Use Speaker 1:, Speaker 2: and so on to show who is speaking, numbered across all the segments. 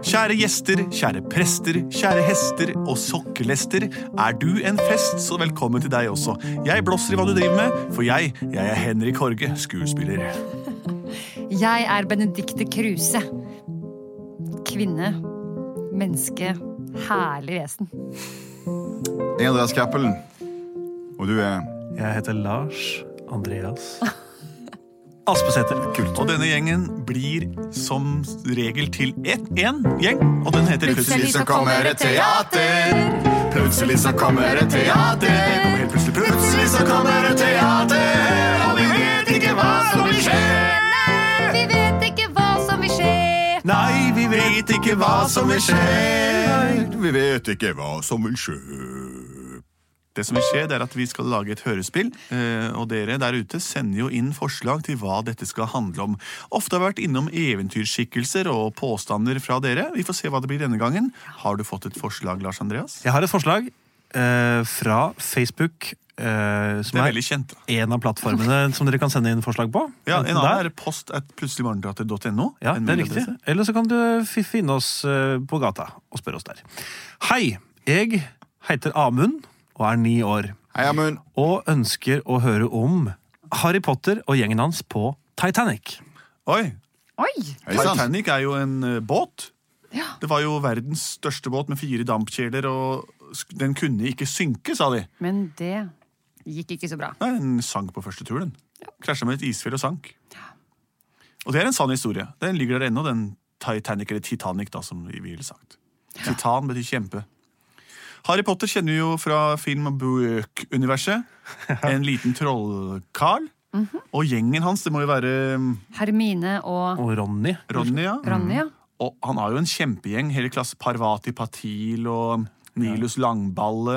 Speaker 1: Kjære gjester, kjære prester, kjære hester og sokkelester. Er du en fest, så velkommen til deg også. Jeg blåser i hva du driver med, for jeg, jeg er Henrik Horge, skuespiller.
Speaker 2: Jeg er Benedikte Kruse. Kvinne. Menneske. Herlig vesen.
Speaker 3: Jeg er Andreas Cappelen. Og du er
Speaker 4: Jeg heter Lars Andreas Aspesæter.
Speaker 1: Og denne gjengen blir som regel til ett én gjeng, og den heter
Speaker 3: Plutselig så kommer et teater. Plutselig så kommer et teater.
Speaker 1: Helt plutselig, plutselig.
Speaker 3: Plutselig så kommer et teater, og vi vet ikke hva som vil skje.
Speaker 2: Nei, vi vet ikke hva som vil skje.
Speaker 1: Nei, vi vet ikke hva som vil skje.
Speaker 3: Vi vet ikke hva som vil skje.
Speaker 1: Det som vil skje, det er at vi skal lage et hørespill, eh, og dere der ute sender jo inn forslag til hva dette skal handle om. Ofte har vi vært innom eventyrskikkelser og påstander fra dere. Vi får se hva det blir denne gangen. Har du fått et forslag, Lars Andreas?
Speaker 4: Jeg har et forslag eh, fra Facebook, eh, som
Speaker 1: Det er
Speaker 4: er,
Speaker 1: veldig kjent. da.
Speaker 4: en av plattformene som dere kan sende inn forslag på.
Speaker 1: Ja,
Speaker 4: Enten
Speaker 1: En annen
Speaker 4: der-
Speaker 1: er post at plutseligmorgenteater.no.
Speaker 4: Ja,
Speaker 1: en
Speaker 4: det er riktig.
Speaker 1: mailadresse.
Speaker 4: Eller så kan du fi- finne oss eh, på gata og spørre oss der. Hei, jeg heter Amund og er ni år,
Speaker 3: Hei, Amund.
Speaker 4: og ønsker å høre om Harry Potter og gjengen hans på Titanic.
Speaker 1: Oi,
Speaker 2: Oi!
Speaker 3: Hei sann.
Speaker 1: Titanic er jo en eh, båt.
Speaker 2: Ja.
Speaker 1: Det var jo verdens største båt med fire dampkjeler, og sk- den kunne ikke synke, sa de.
Speaker 2: Men det gikk ikke så bra.
Speaker 1: Nei, den sank på første turen. Krasja med et isfjell og sank. Og det er en sann historie. Den ligger der ennå, den Titanic, eller Titanic, da, som vi ville sagt. Titan betyr kjempe. Harry Potter kjenner vi jo fra film- og bøkuniverset. En liten trollkarl. Og gjengen hans, det må jo være mm,
Speaker 2: Hermine og
Speaker 4: Og Ronny
Speaker 1: Ronny, ja.
Speaker 2: Ronja.
Speaker 1: Og han har jo en kjempegjeng, hele klasse. Parvati Patil og Nilus Langballe.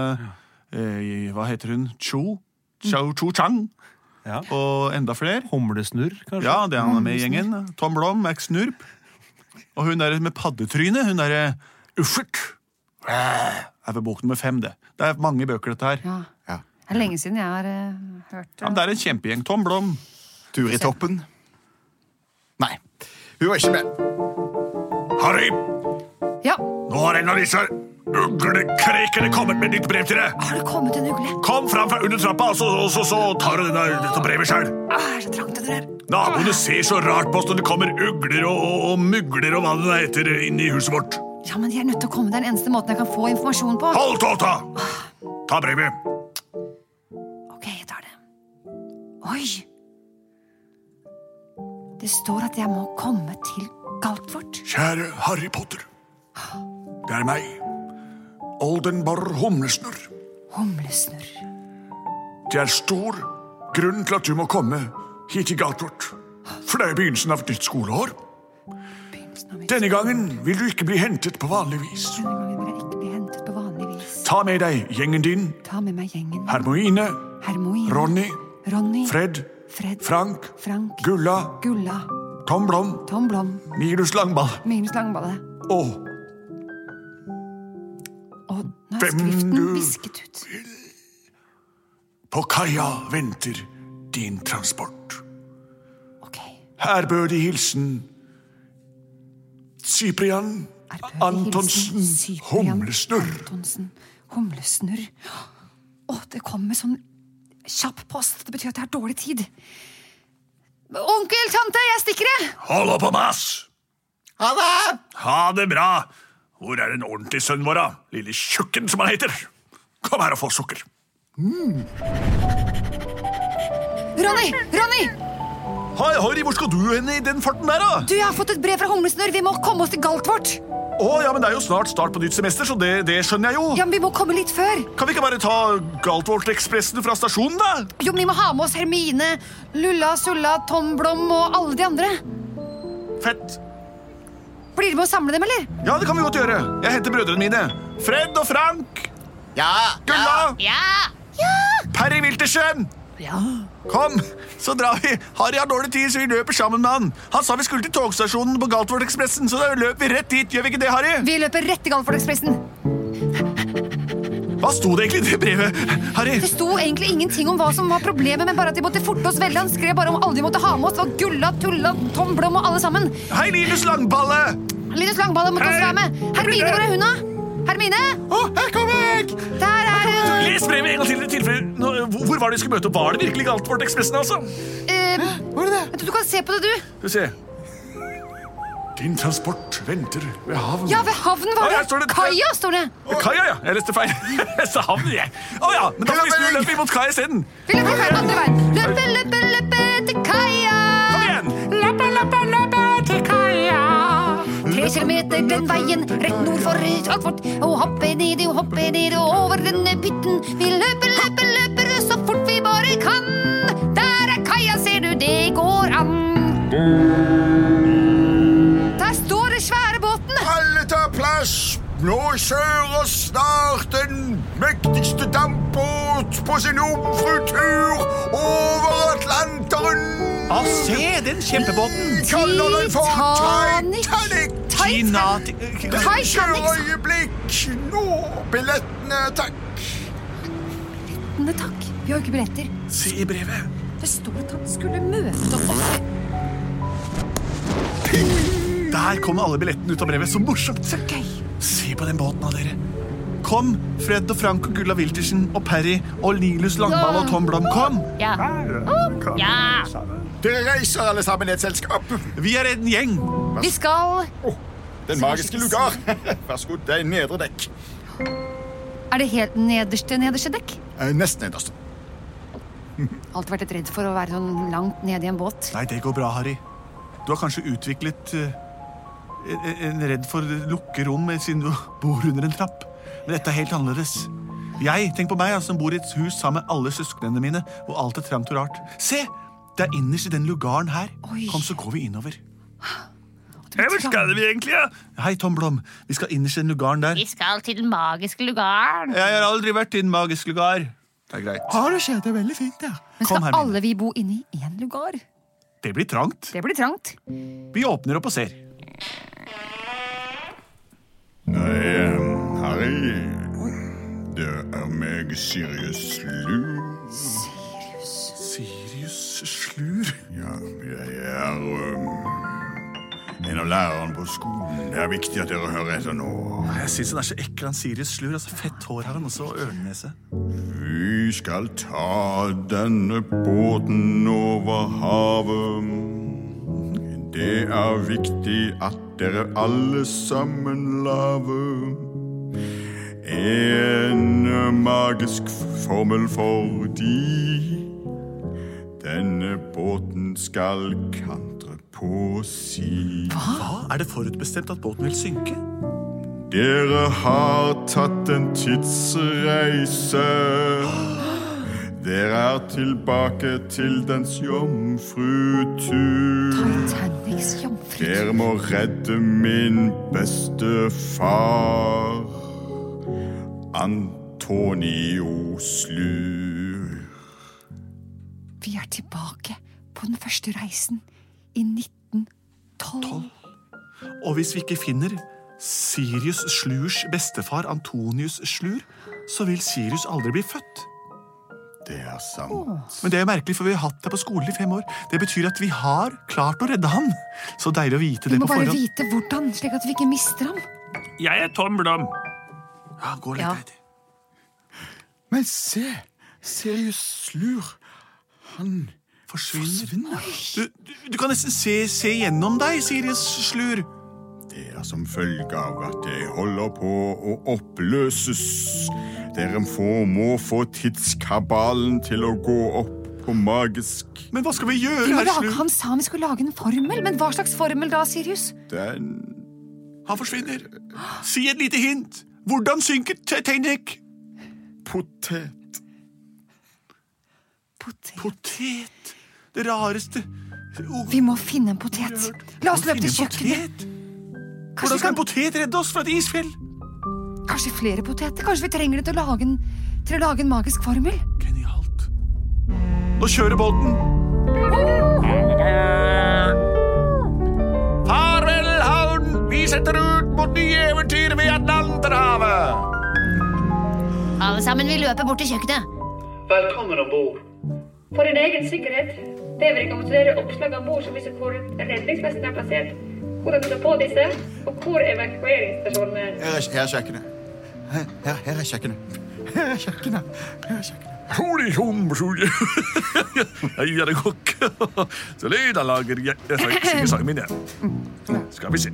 Speaker 1: Eh, hva heter hun? Cho? Cho Cho Chang.
Speaker 4: Ja.
Speaker 1: Og enda flere.
Speaker 4: Humlesnurr, kanskje?
Speaker 1: Ja, det er han med i gjengen. Tom Blom, Max Snurp. Og hun der med paddetryne, hun derre Uffert. Det er ved bok nummer fem, det. Det er mange bøker, dette her.
Speaker 2: Ja.
Speaker 3: Ja.
Speaker 2: Det er lenge siden jeg har eh, hørt
Speaker 1: Ja, men det er en kjempegjeng. Tom Blom.
Speaker 3: Tur i toppen. Nei, hun var ikke med.
Speaker 1: Harry,
Speaker 2: eh, Ja,
Speaker 1: nå har en av disse uglekrekene kommet med nytt brev til deg.
Speaker 2: har det kommet en ugle?
Speaker 1: Kom fram fra under trappa, og så, og så, så tar du denne, dette brevet sjøl.
Speaker 2: Ah, det er så trangt under her.
Speaker 1: Naboene ser så rart på oss når det kommer ugler og, og, og mugler og hva det heter inn i huset vårt.
Speaker 2: Ja, men jeg er nødt til å komme. Det er den eneste måten jeg kan få informasjon på.
Speaker 1: Hold tåta! Ta brevet.
Speaker 2: Ok, jeg tar det. Oi! Det står at jeg må komme til Galtvort.
Speaker 1: Kjære Harry Potter. Det er meg. Oldenborg Humlesnurr.
Speaker 2: Humlesnurr.
Speaker 1: Det er stor grunn til at du må komme hit til Galtvort. For det er begynnelsen av et nytt skoleår.
Speaker 2: Begynnelsen av mitt
Speaker 1: Denne gangen vil du ikke bli hentet på vanlig vis.
Speaker 2: Denne gangen vil jeg ikke bli hentet på vanlig vis.
Speaker 1: Ta med deg gjengen din.
Speaker 2: Ta med meg gjengen.
Speaker 1: Hermoine,
Speaker 2: Hermoin.
Speaker 1: Ronny,
Speaker 2: Ronny.
Speaker 1: Fred,
Speaker 2: Fred.
Speaker 1: Frank,
Speaker 2: Frank.
Speaker 1: Gulla,
Speaker 2: Gulla.
Speaker 1: Tom Blom,
Speaker 2: Tom Blom.
Speaker 1: Nilus Langball
Speaker 2: Minus Langballe.
Speaker 1: og
Speaker 2: Og nå er
Speaker 1: Hvem
Speaker 2: skriften
Speaker 1: du-
Speaker 2: visket ut.
Speaker 1: På kaia venter din transport.
Speaker 2: Ok.
Speaker 1: Her bør de hilsen Cyprian
Speaker 2: Er Børge
Speaker 1: Antonsen
Speaker 2: Hilsen, Cyprian
Speaker 1: Humlesnurr.
Speaker 2: Antonsen. Humlesnurr. Å, det kommer sånn kjapp post. Det betyr at jeg har dårlig tid. Onkel, tante, jeg stikker, jeg!
Speaker 1: Hold opp og mas!
Speaker 3: Ha det!
Speaker 1: Ha det bra! Hvor er den ordentlige sønnen vår, da? Lille tjukken, som han heter. Kom her og få sukker.
Speaker 2: Ronny! Ronny!
Speaker 1: Hei, Harry, hvor skal du hen i den farten der, da?
Speaker 2: Du, jeg har fått et brev fra Humlesnurr! Vi må komme oss til Galtvort!
Speaker 1: Å, ja, men Det er jo snart start på nytt semester, så det, det skjønner jeg jo.
Speaker 2: Ja, men vi må komme litt før!
Speaker 1: Kan vi ikke bare ta Galtvortekspressen fra stasjonen, da?
Speaker 2: Jo, men vi må ha med oss Hermine, Lulla, Sulla, Tom Blom og alle de andre.
Speaker 1: Fett.
Speaker 2: Blir du med å samle dem, eller?
Speaker 1: Ja, det kan vi godt gjøre. Jeg henter brødrene mine. Fred og Frank.
Speaker 3: Ja, ja.
Speaker 1: Ulla. Perry Wiltersen. Kom, så drar vi. Harry har dårlig tid, så vi løper sammen med han. Han sa vi skulle til togstasjonen på Galtvortekspressen, så da løp vi rett dit. Gjør vi ikke det, Harry?
Speaker 2: Vi løper rett til Galfordekspressen.
Speaker 1: Hva sto det egentlig i det brevet? Harry,
Speaker 2: Det sto egentlig ingenting om hva som var problemet, men bare at de måtte forte oss veldig. Han skrev bare om alle de måtte ha med oss. Det var Gulla, Tulla, Tom Blom og alle sammen.
Speaker 1: hei Linus Langballe.
Speaker 2: Linus Langballe måtte også være med. Hermine, hvor er hun, da? Hermine?
Speaker 1: Å, her kommer jeg!
Speaker 2: Der er hun.
Speaker 1: Les brevet en gang til i tilfelle nå, hvor- Hvor var det vi skulle møte? Var det virkelig Galtvortekspressen, altså?
Speaker 2: Eh,
Speaker 1: Var det det?
Speaker 2: vet du, du kan se på det, du.
Speaker 1: Skal vi se. Din transport venter ved havn.
Speaker 2: Ja, ved havnen
Speaker 1: Å,
Speaker 2: var
Speaker 1: her står
Speaker 2: det.
Speaker 1: det-
Speaker 2: Kaia står det.
Speaker 1: Kaia, ja. Jeg leste feil. Jeg sa havn, jeg. Å ja, men da får vi snu og løpe imot kaia isteden.
Speaker 2: Vi løper her andre veien. Løpe, løpe, løpe til kaia.
Speaker 1: Kom igjen!
Speaker 2: Løpe, løpe, løpe til kaia. Tre kilometer den veien, rett nord for Frankfurt. Og hoppe nedi og hoppe nedi og over denne pytten. Vi løper, løper, løper så fort vi bare kan. Der er kaia, ser du, det går an. Der står den svære båten.
Speaker 3: Alle tar plass. Nå kjører snart den mektigste dampbåt på sin jomfrutur over Atlanteren.
Speaker 1: Ja, se den kjempebåten!
Speaker 3: Vi kaller den for
Speaker 2: Titanic.
Speaker 3: Titanic.
Speaker 1: Tina
Speaker 3: Den
Speaker 2: Titanic,
Speaker 3: kjører
Speaker 2: sa-
Speaker 3: øyeblikk nå. Billettene, takk.
Speaker 2: Nei takk, vi har jo ikke billetter.
Speaker 1: Se i brevet.
Speaker 2: Det står at han skulle møte oss.
Speaker 1: Der kom alle billettene ut av brevet. Så morsomt! Se,
Speaker 2: Gøy.
Speaker 1: se på den båten av dere. Kom, Fred og Frank og Gulla Wiltersen og Perry og Linus Langball og Tom Blom. Kom!
Speaker 3: Dere reiser alle sammen i et selskap.
Speaker 1: Vi er en gjeng.
Speaker 2: Vi skal
Speaker 3: Den magiske lugar. Vær så god, det er nedre dekk.
Speaker 2: Er det helt nederste nederste dekk?
Speaker 3: Eh, Nesten nederst.
Speaker 2: Alltid vært litt redd for å være sånn langt nede i en båt.
Speaker 1: Nei, det går bra, Harry. Du har kanskje utviklet eh, en- en redd for lukkerom eh, siden du bor under en trapp. Men dette er helt annerledes. Jeg, Tenk på meg, altså, som bor i et hus sammen med alle søsknene mine, og alt er trangt og rart. Se! Det er innerst i den lugaren her.
Speaker 2: Oi.
Speaker 1: Kom, så går vi innover.
Speaker 2: Hvor skal
Speaker 1: vi egentlig, ja? Hei, Tom Blom. Vi skal innerst i den lugaren der.
Speaker 5: Vi skal til den magiske lugaren.
Speaker 1: Jeg har aldri vært i den magiske lugar. Det er greit.
Speaker 6: Har du skjedd? Det er veldig fint, ja.
Speaker 2: Men
Speaker 1: Kom
Speaker 2: skal
Speaker 1: her, Mine.
Speaker 2: alle vi bo inne i én lugar?
Speaker 1: Det blir trangt.
Speaker 2: Det blir trangt.
Speaker 1: Vi åpner opp og ser.
Speaker 7: Nei, eh, Harry. Det er meg, Sirius Lur.
Speaker 1: Sirius slur.
Speaker 7: Ja, jeg er um, en av lærerne på skolen. Det er viktig at dere hører etter nå.
Speaker 1: Jeg syns han er så ekkel, han Sirius slur. Altså, fett hår har han også, og ørenese.
Speaker 7: Vi skal ta denne båten over havet. Det er viktig at dere alle sammen lager en magisk formel for de. Denne båten skal kantre på si.
Speaker 1: Hva? Er det forutbestemt at båten vil synke?
Speaker 7: Dere har tatt en tidsreise. Dere er tilbake til dens jomfrutur.
Speaker 2: Titanics jomfru.
Speaker 7: Dere må redde min beste far, Antonio Slur.
Speaker 2: Vi er tilbake på den første reisen i 1912.
Speaker 1: Og hvis vi ikke finner Sirius slurs bestefar Antonius slur, så vil Sirius aldri bli født.
Speaker 7: Det er sant.
Speaker 1: Men det er jo merkelig, for vi har hatt deg på skolen i fem år. Det betyr at vi har klart å redde han. Så deilig å vite
Speaker 2: Vi
Speaker 1: det
Speaker 2: må
Speaker 1: på
Speaker 2: bare
Speaker 1: forhånd.
Speaker 2: vite hvordan, slik at vi ikke mister ham.
Speaker 4: Jeg er Tom Blom.
Speaker 1: Ja, gå litt
Speaker 2: Ja.
Speaker 1: etter.
Speaker 6: Men se, Sirius Slur, han
Speaker 1: Forsvinner.
Speaker 6: forsvinner.
Speaker 1: Du, du, du kan nesten se, se gjennom deg, Sirius slur.
Speaker 7: Det er som følge av at jeg holder på å oppløses. Dere få- må få tidskabalen til å gå opp på magisk.
Speaker 1: Men hva skal vi gjøre,
Speaker 2: Vi må
Speaker 1: herr
Speaker 2: lage,
Speaker 1: slur?
Speaker 2: han sa vi skulle lage en formel, men hva slags formel da, Sirius?
Speaker 7: Den
Speaker 1: Han forsvinner. Si et lite hint. Hvordan synker Titanic?
Speaker 7: potet...
Speaker 2: Potet.
Speaker 1: Potet. Det rareste
Speaker 2: Vi må finne en potet. La oss løpe til kjøkkenet.
Speaker 1: Hvordan skal en potet redde oss fra et isfjell?
Speaker 2: Kanskje flere poteter? Kanskje vi trenger det til å lage en, til å lage en magisk formel?
Speaker 1: Genialt. Nå kjører båten. Farvel, havn! Vi setter ut mot nye eventyr ved Atlanterhavet!
Speaker 5: Alle sammen, vi løper bort til kjøkkenet.
Speaker 8: Velkommen om bord.
Speaker 9: For din egen sikkerhet ber vi deg om å studere oppslag om bord som viser hvor redningsvesten er plassert, hvor du tar på disse, og hvor evakueringsstasjonen er.
Speaker 6: Her er, her er kjøkkenet. Her, her, her er kjøkkenet. Her er kjøkkenet. Her er kjøkkenet.
Speaker 1: Holy homsule! Jeg er kokk. Så da lager jeg Jeg synger sangen min, jeg. Skal vi se.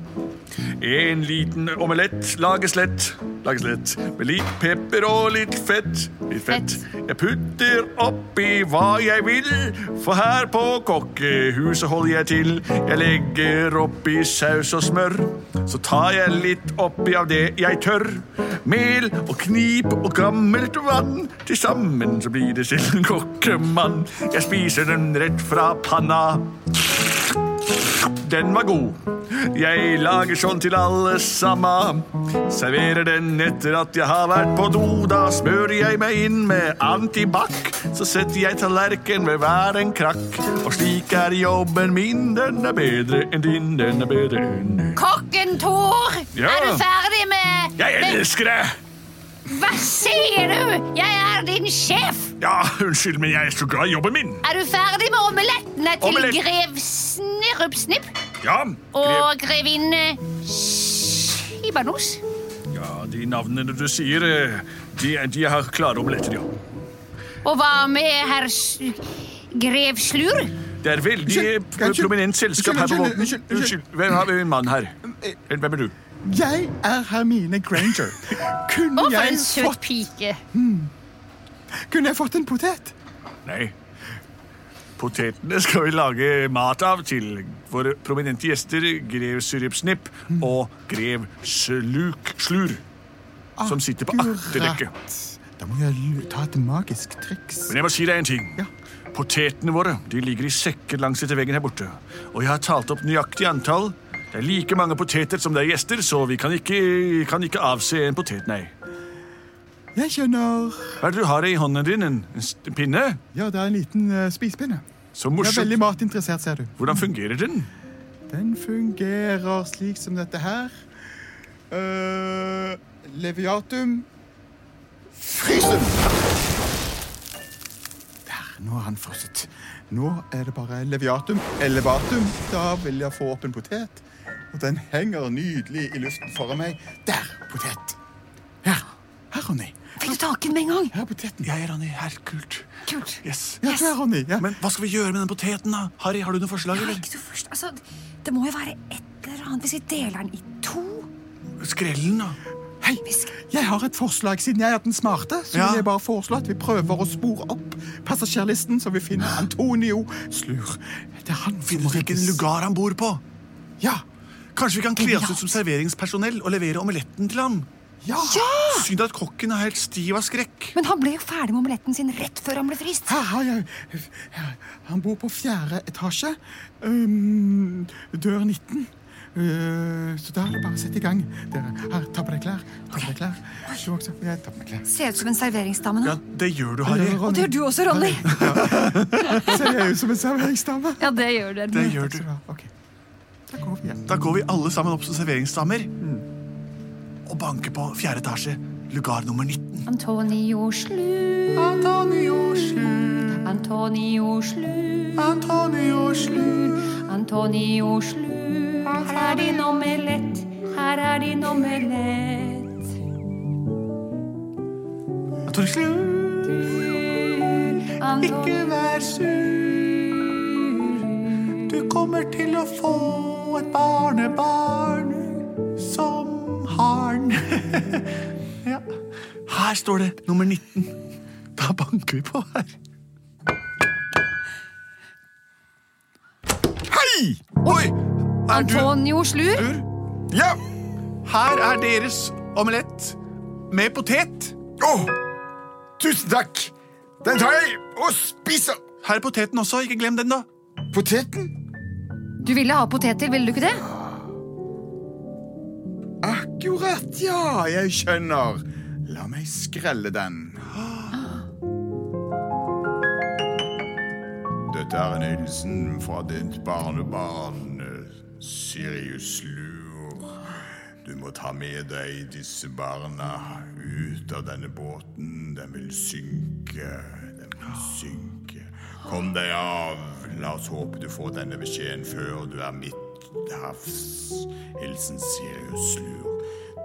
Speaker 1: En liten omelett lages lett. Lages lett. Med litt pepper og litt fett. Litt fett. Jeg putter oppi hva jeg vil, for her på kokkehuset holder jeg til. Jeg legger oppi saus og smør. Så tar jeg litt oppi av det jeg tør. Mel og knip og gammelt vann. Til sammen så blir det til en kokkemann. Jeg spiser den rett fra panna. Den var god. Jeg lager sånn til alle samma. Serverer den etter at jeg har vært på do. Da smører jeg meg inn med antibac. Så setter jeg tallerken ved hver en krakk. Og slik er jobben min. Den er bedre enn din. Den er bedre enn din.
Speaker 5: Kokken Tor,
Speaker 1: Ja.
Speaker 5: er du ferdig med
Speaker 1: Jeg
Speaker 5: med-
Speaker 1: elsker det!
Speaker 5: Hva sier du? Jeg er din sjef!
Speaker 1: Ja, unnskyld, men jeg er så glad i jobben min.
Speaker 5: Er du ferdig med omelettene til
Speaker 1: Omelett.
Speaker 5: grev Snirrupsnipp
Speaker 1: Ja,
Speaker 5: og grevinne Skibanos?
Speaker 1: ja de navnene du sier, eh, de, de har klare omeletter, ja.
Speaker 5: Og hva med herr S- grev Slur?
Speaker 1: Det er veldig
Speaker 6: Unnskyld,
Speaker 1: pro-
Speaker 6: unnskyld.
Speaker 1: prominent selskap her på
Speaker 6: Unnskyld,
Speaker 1: båten.
Speaker 6: unnskyld, Um, eh, unnskyld,
Speaker 1: Unnskyld, hvem har vi en mann her? Hvem er du?
Speaker 6: Jeg er Hermine Granger. Kunne,
Speaker 5: Å, for
Speaker 6: jeg
Speaker 5: en søt
Speaker 6: fått,
Speaker 5: pike.
Speaker 6: kunne jeg fått en potet?
Speaker 1: Nei. Potetene skal vi lage mat av til våre prominente gjester grev Sirupsnipp og grev Sluk Slur, som sitter på akterrekket.
Speaker 6: Da må jeg lu- ta et magisk triks.
Speaker 1: Men jeg må si deg en ting.
Speaker 6: Ja.
Speaker 1: Potetene våre de ligger i sekker langs etter veggen her borte. Og jeg har talt opp nøyaktig antall. Det er like mange poteter som det er gjester, så vi kan ikke, kan ikke avse en potet, nei.
Speaker 6: Jeg skjønner.
Speaker 1: Hva er det du har i hånden din? En, en st- pinne?
Speaker 6: Ja, det er en liten eh, spisepinne.
Speaker 1: Så
Speaker 6: Jeg er
Speaker 1: morsomt.
Speaker 6: veldig matinteressert, ser du.
Speaker 1: Hvordan fungerer den?
Speaker 6: Den fungerer slik som dette her. Eh, leviatum Frysum! Der, nå er han frosset. Nå er det bare leviatum elevatum. Da vil jeg få opp en potet. Og den henger nydelig i luften foran meg. Der, potet. Her. Her, Ronny.
Speaker 2: Fikk du tak i den med en gang?
Speaker 6: Her er poteten.
Speaker 1: Jeg er Ronny. Her, kult.
Speaker 2: Kult.
Speaker 1: Yes.
Speaker 6: Ja, du er Ronny. Ja.
Speaker 1: Men hva skal vi gjøre med den poteten, da? Harry, har du noe forslag,
Speaker 2: Nei,
Speaker 1: eller?
Speaker 2: ikke du først. Altså, det må jo være et eller annet hvis vi deler den i to.
Speaker 1: Skrellen, da?
Speaker 6: Hei, jeg har et forslag. Siden jeg er den smarte, så
Speaker 1: Ja.
Speaker 6: vil jeg bare foreslå at vi prøver å spore opp passasjerlisten, så vi finner Antonio Slur. Det er han som
Speaker 1: Finner
Speaker 6: må
Speaker 1: vi ikke en
Speaker 6: reddes.
Speaker 1: lugar han bor på?
Speaker 6: Ja.
Speaker 1: Kanskje vi kan kle oss ut som serveringspersonell og levere omeletten til ham?
Speaker 6: Ja.
Speaker 1: Synd at kokken er helt stiv av skrekk.
Speaker 2: Men han ble jo ferdig med omeletten sin rett før han ble frist.
Speaker 6: Her har jeg her. Han bor på fjerde etasje. Um, dør 19. Uh, så da er det bare å sette i gang. Dere, her, ta på deg klær. Ta på deg klær. Du også. Jeg tar på meg klær.
Speaker 2: Ser ut som en serveringsdame nå.
Speaker 1: Ja, Det gjør du, Harry.
Speaker 2: Og det gjør du også, Ronny.
Speaker 6: Ser jeg ut som en serveringsdame?
Speaker 2: Ja, det gjør du.
Speaker 1: Det gjør du.
Speaker 6: Takk skal du ha. Ok. Da går vi hjem.
Speaker 1: Da går vi alle sammen opp som serveringsdamer og banker på fjerde etasje, lugar nummer 19.
Speaker 5: Antonio Slur,
Speaker 1: Antonio Slur,
Speaker 5: Antonio Slur,
Speaker 1: Antonio Slur.
Speaker 5: Antonio Slur. Her er din omelett, her er din omelett.
Speaker 1: Antonio Slur.
Speaker 5: Antonio
Speaker 1: Ikke vær sur. Du kommer til å få et barnebarn som harn. ja. Her står det nummer 19. Da banker vi på her.
Speaker 7: Hei!
Speaker 1: Oi! Er du
Speaker 2: Antonio Slur.
Speaker 1: sur?
Speaker 7: Ja!
Speaker 1: Her er deres omelett med potet.
Speaker 7: Åh! Tusen takk! Den tar jeg og spiser.
Speaker 1: Her er poteten også. Ikke glem den, da.
Speaker 7: Poteten?
Speaker 2: Du ville ha poteter, ville du ikke det?
Speaker 6: Akkurat, ja, jeg skjønner. La meg skrelle den.
Speaker 7: Dette er en hilsen fra ditt barnebarn, eh, Sirius Lur. Du må ta med deg disse barna ut av denne båten. Den vil synke. Den vil synke. Kom deg av. La oss håpe du får denne beskjeden før du er midthavs. Hilsen Sirius Lur,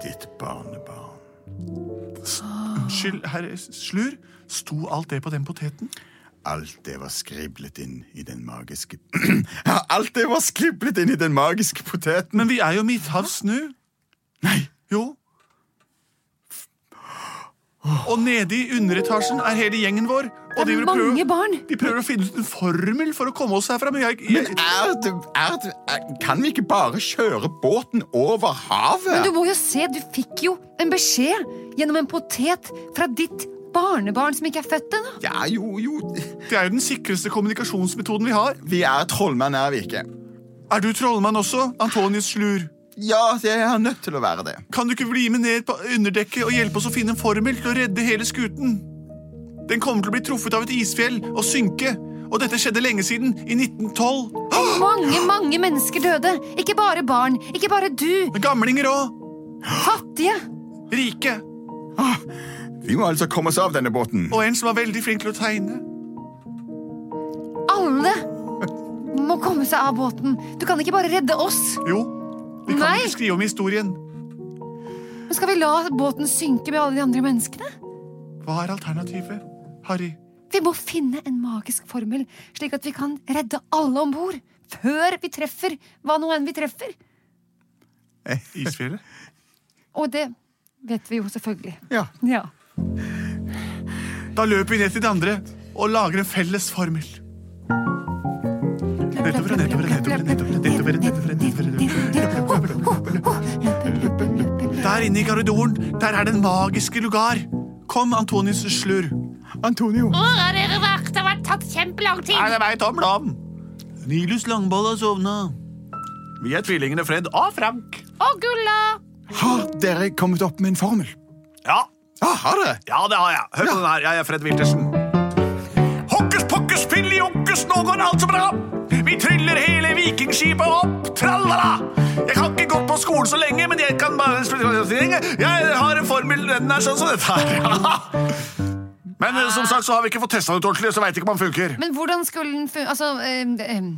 Speaker 7: ditt barnebarn.
Speaker 1: Unnskyld, herr Slur. Sto alt det på den poteten?
Speaker 7: Alt det var skriblet inn i den magiske
Speaker 6: Ja, Alt det var skriblet inn i den magiske poteten.
Speaker 1: Men vi er jo midthavs nå.
Speaker 6: Nei,
Speaker 1: Jo. Og nede i underetasjen er hele gjengen vår. Og de, vil
Speaker 2: Mange
Speaker 1: prøve,
Speaker 2: barn.
Speaker 1: de prøver å finne ut en formel for å komme oss herfra. Men jeg,
Speaker 6: men
Speaker 1: jeg,
Speaker 6: er det, er det er, Kan vi ikke bare kjøre båten over
Speaker 2: Men
Speaker 6: havet?
Speaker 2: du må jo se, du fikk jo en beskjed gjennom en potet fra ditt barnebarn som ikke er født ennå.
Speaker 6: Ja, jo, jo
Speaker 1: det er jo den sikreste kommunikasjonsmetoden vi har.
Speaker 6: Vi er trollmenn, er vi ikke?
Speaker 1: Er du trollmann også, Antonius Slur?
Speaker 6: Ja, jeg er nødt til å være det.
Speaker 1: Kan du ikke bli med ned på underdekket og hjelpe oss å finne en formel til å redde hele skuten? Den kommer til å bli truffet av et isfjell og synke. Og dette skjedde lenge siden, i 1912.
Speaker 2: Og mange, mange mennesker døde. Ikke bare barn, ikke bare du.
Speaker 1: Med gamlinger òg.
Speaker 2: Fattige.
Speaker 1: Rike.
Speaker 6: Vi må altså komme oss av denne båten.
Speaker 1: Og en som var veldig flink til å tegne.
Speaker 2: Alle må komme seg av båten. Du kan ikke bare redde oss.
Speaker 1: Jo, vi kan
Speaker 2: Nei.
Speaker 1: ikke skrive om historien.
Speaker 2: Men skal vi la båten synke med alle de andre menneskene?
Speaker 1: Hva er alternativet, Harry?
Speaker 2: Vi må finne en magisk formel, slik at vi kan redde alle om bord. Før vi treffer hva nå enn vi treffer.
Speaker 1: Isfjellet?
Speaker 2: Og det vet vi jo selvfølgelig.
Speaker 6: Ja.
Speaker 2: Ja.
Speaker 1: Da løper vi ned til de andre og lager en felles formel. Nedover og nedover og nedover og nedover og nedover og nedover og nedover og nedover. Der inne i korridoren, der er den magiske lugar. Kom, Antonius Slur.
Speaker 6: Antonio.
Speaker 5: Hvor har dere vært? Det har tatt kjempelang
Speaker 1: Er
Speaker 5: tid.
Speaker 1: det meg, Tom Lam? Nilus Langboll har sovna. Vi er tvillingene Fred og Frank.
Speaker 5: Og Gulla.
Speaker 6: Har dere kommet opp med en formel?
Speaker 1: Ja,
Speaker 6: Ja,
Speaker 7: Ah,
Speaker 6: har dere?
Speaker 1: ja det har jeg. Hør på den her. Jeg er Fred Wiltersen. Hokkus pokkus filli okkus, nå går alt så bra. Vi tryller hele vikingskipet opp, trallala. Jeg har ikke gått på skolen så lenge, men jeg kan bare Jeg har en formel, den er sånn som dette her. Men eh, som sagt så har vi ikke fått testa den ut ordentlig, så veit ikke om den funker.
Speaker 2: Men hvordan skulle den fun... Altså, ehm, ehm,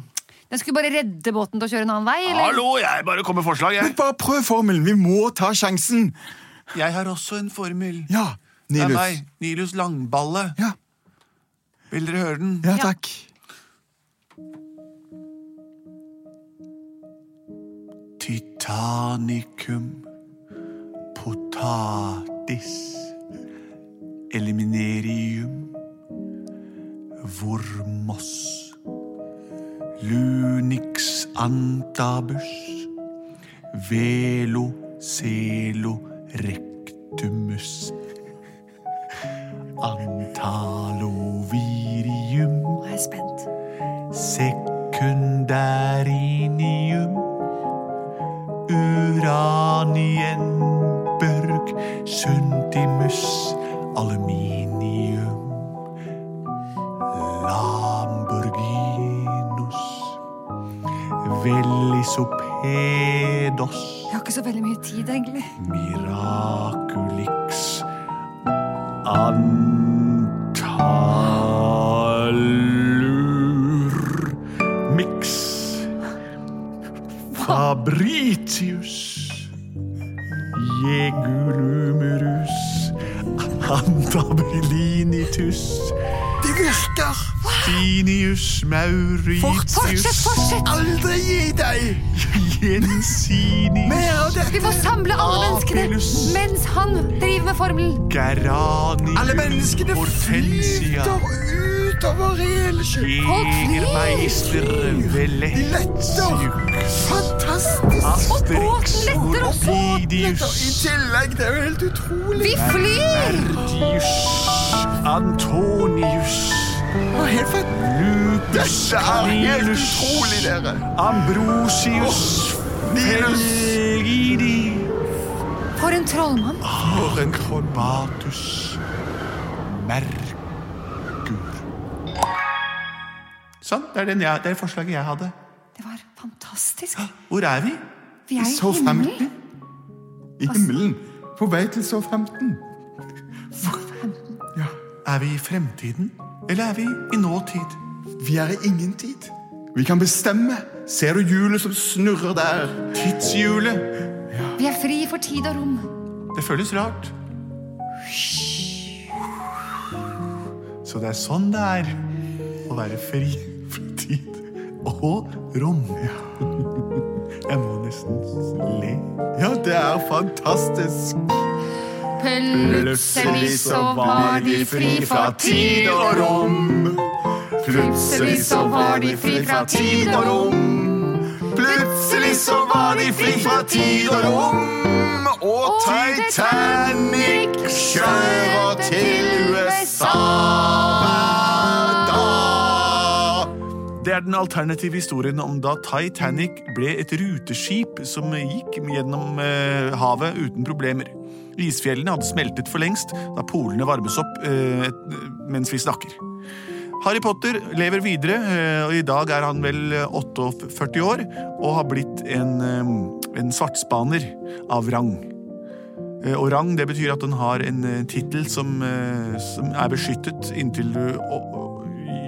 Speaker 2: den skulle bare redde båten til å kjøre en annen vei, eller?
Speaker 1: Hallo, jeg bare kommer med forslag, jeg.
Speaker 6: Bare prøv formelen. Vi må ta sjansen.
Speaker 1: Jeg har også en formel.
Speaker 6: Ja,
Speaker 1: Det er
Speaker 6: Nilus.
Speaker 1: meg, Nilus Langballe.
Speaker 6: Ja,
Speaker 1: Vil dere høre den?
Speaker 6: ja takk.
Speaker 1: Titanicum potatis eliminerium vormos lunix antabus velo celo rectumus antalovirium
Speaker 2: Jeg er spent.
Speaker 1: Sekundærinium Uranienburg Suntimus Aluminium Lamborghinus Velisopedos
Speaker 2: Jeg har ikke så veldig mye tid, egentlig.
Speaker 1: Miraculix Antalur Mix Fabritius Jegulumerus Antabellinitus
Speaker 6: Det virker!
Speaker 1: Finius
Speaker 2: Fortsett,
Speaker 1: Mauritius
Speaker 2: fortsett!
Speaker 6: Aldri gi deg!
Speaker 1: Jensinius
Speaker 6: Mer av
Speaker 2: Vi
Speaker 6: det!
Speaker 2: må samle alle menneskene
Speaker 1: Apelus.
Speaker 2: mens han driver med formelen.
Speaker 1: Geranius
Speaker 6: Alle menneskene
Speaker 1: Hortensia.
Speaker 6: flyter utover hele sjøen.
Speaker 1: Jegermeister Veletius
Speaker 6: Fantastisk!
Speaker 2: Og båten letter også.
Speaker 6: Og I
Speaker 1: Orpidius
Speaker 6: tillegg, det er jo helt utrolig.
Speaker 2: Vi flyr!
Speaker 1: Dius Antonius
Speaker 6: Det er helt fant-
Speaker 1: Lupus
Speaker 6: Dette er helt
Speaker 1: Nilus,
Speaker 6: utrolig, dere.
Speaker 1: Ambrosius
Speaker 6: Nilus.
Speaker 1: Felgidi
Speaker 5: For en trollmann.
Speaker 7: For en troll.
Speaker 1: Batus Merkur. Sånn, det er, den jeg, det er forslaget jeg hadde.
Speaker 5: Det var fantastisk.
Speaker 1: Hvor er vi?
Speaker 5: Vi er i himmelen.
Speaker 7: Southampton. I himmelen. På vei til Southampton. Ja.
Speaker 1: Er vi i fremtiden? Eller er vi i nåtid?
Speaker 7: Vi er i ingen tid. Vi kan bestemme. Ser du hjulet som snurrer der?
Speaker 1: Tidshjulet.
Speaker 5: Vi er fri for tid og rom.
Speaker 1: Det føles rart. Så det er sånn det er å være fri fra tid og rom. Jeg må nesten le.
Speaker 7: Ja, det er fantastisk.
Speaker 5: Plutselig så var de fri fra tid og
Speaker 7: rom.
Speaker 5: Plutselig så var de fri fra tid og
Speaker 7: rom. Plutselig så var de fri fra tid og rom. Og Titanic kjører til USA hver dag.
Speaker 1: Det er den alternative historien om da Titanic ble et ruteskip som gikk gjennom eh, havet uten problemer. Isfjellene hadde smeltet for lengst da polene varmes opp eh, et- mens vi snakker. Harry Potter lever videre, eh, og i dag er han vel eh, 48 år og har blitt en, eh, en svartspaner av rang. Eh, Og rang det betyr at den har en eh, tittel som, eh, som er beskyttet inntil du å- å-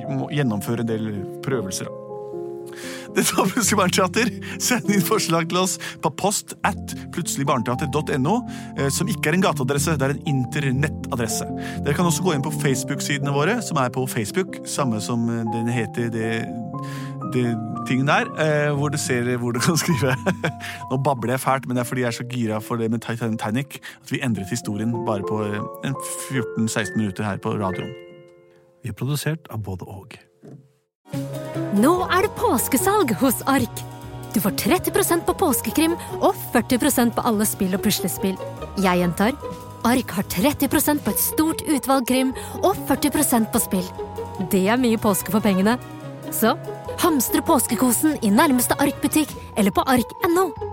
Speaker 1: må gjennomføre en del prøvelser. da. Dette var Plutselig barneteater. Send inn forslag til oss på post at plutseligbarneteater.no, eh, som ikke er en gateadresse, det er en internettadresse. Dere kan også gå inn på Facebook-sidene våre, som er på Facebook, samme som eh, den heter det, det tingen der, eh, hvor du ser hvor du kan skrive. Nå babler jeg fælt, men det er fordi jeg er så gira for det med Titanic at vi endret historien bare på eh, en 14-16 minutter her på radioen.
Speaker 4: Vi er produsert av både og.
Speaker 6: Nå er det påskesalg hos Ark. Du får 30 på påskekrim og 40 på alle spill og puslespill. Jeg gjentar Ark har 30 på et stort utvalg krim og 40 på spill. Det er mye påske for pengene. Så hamstre påskekosen i nærmeste Ark-butikk eller på ark.no.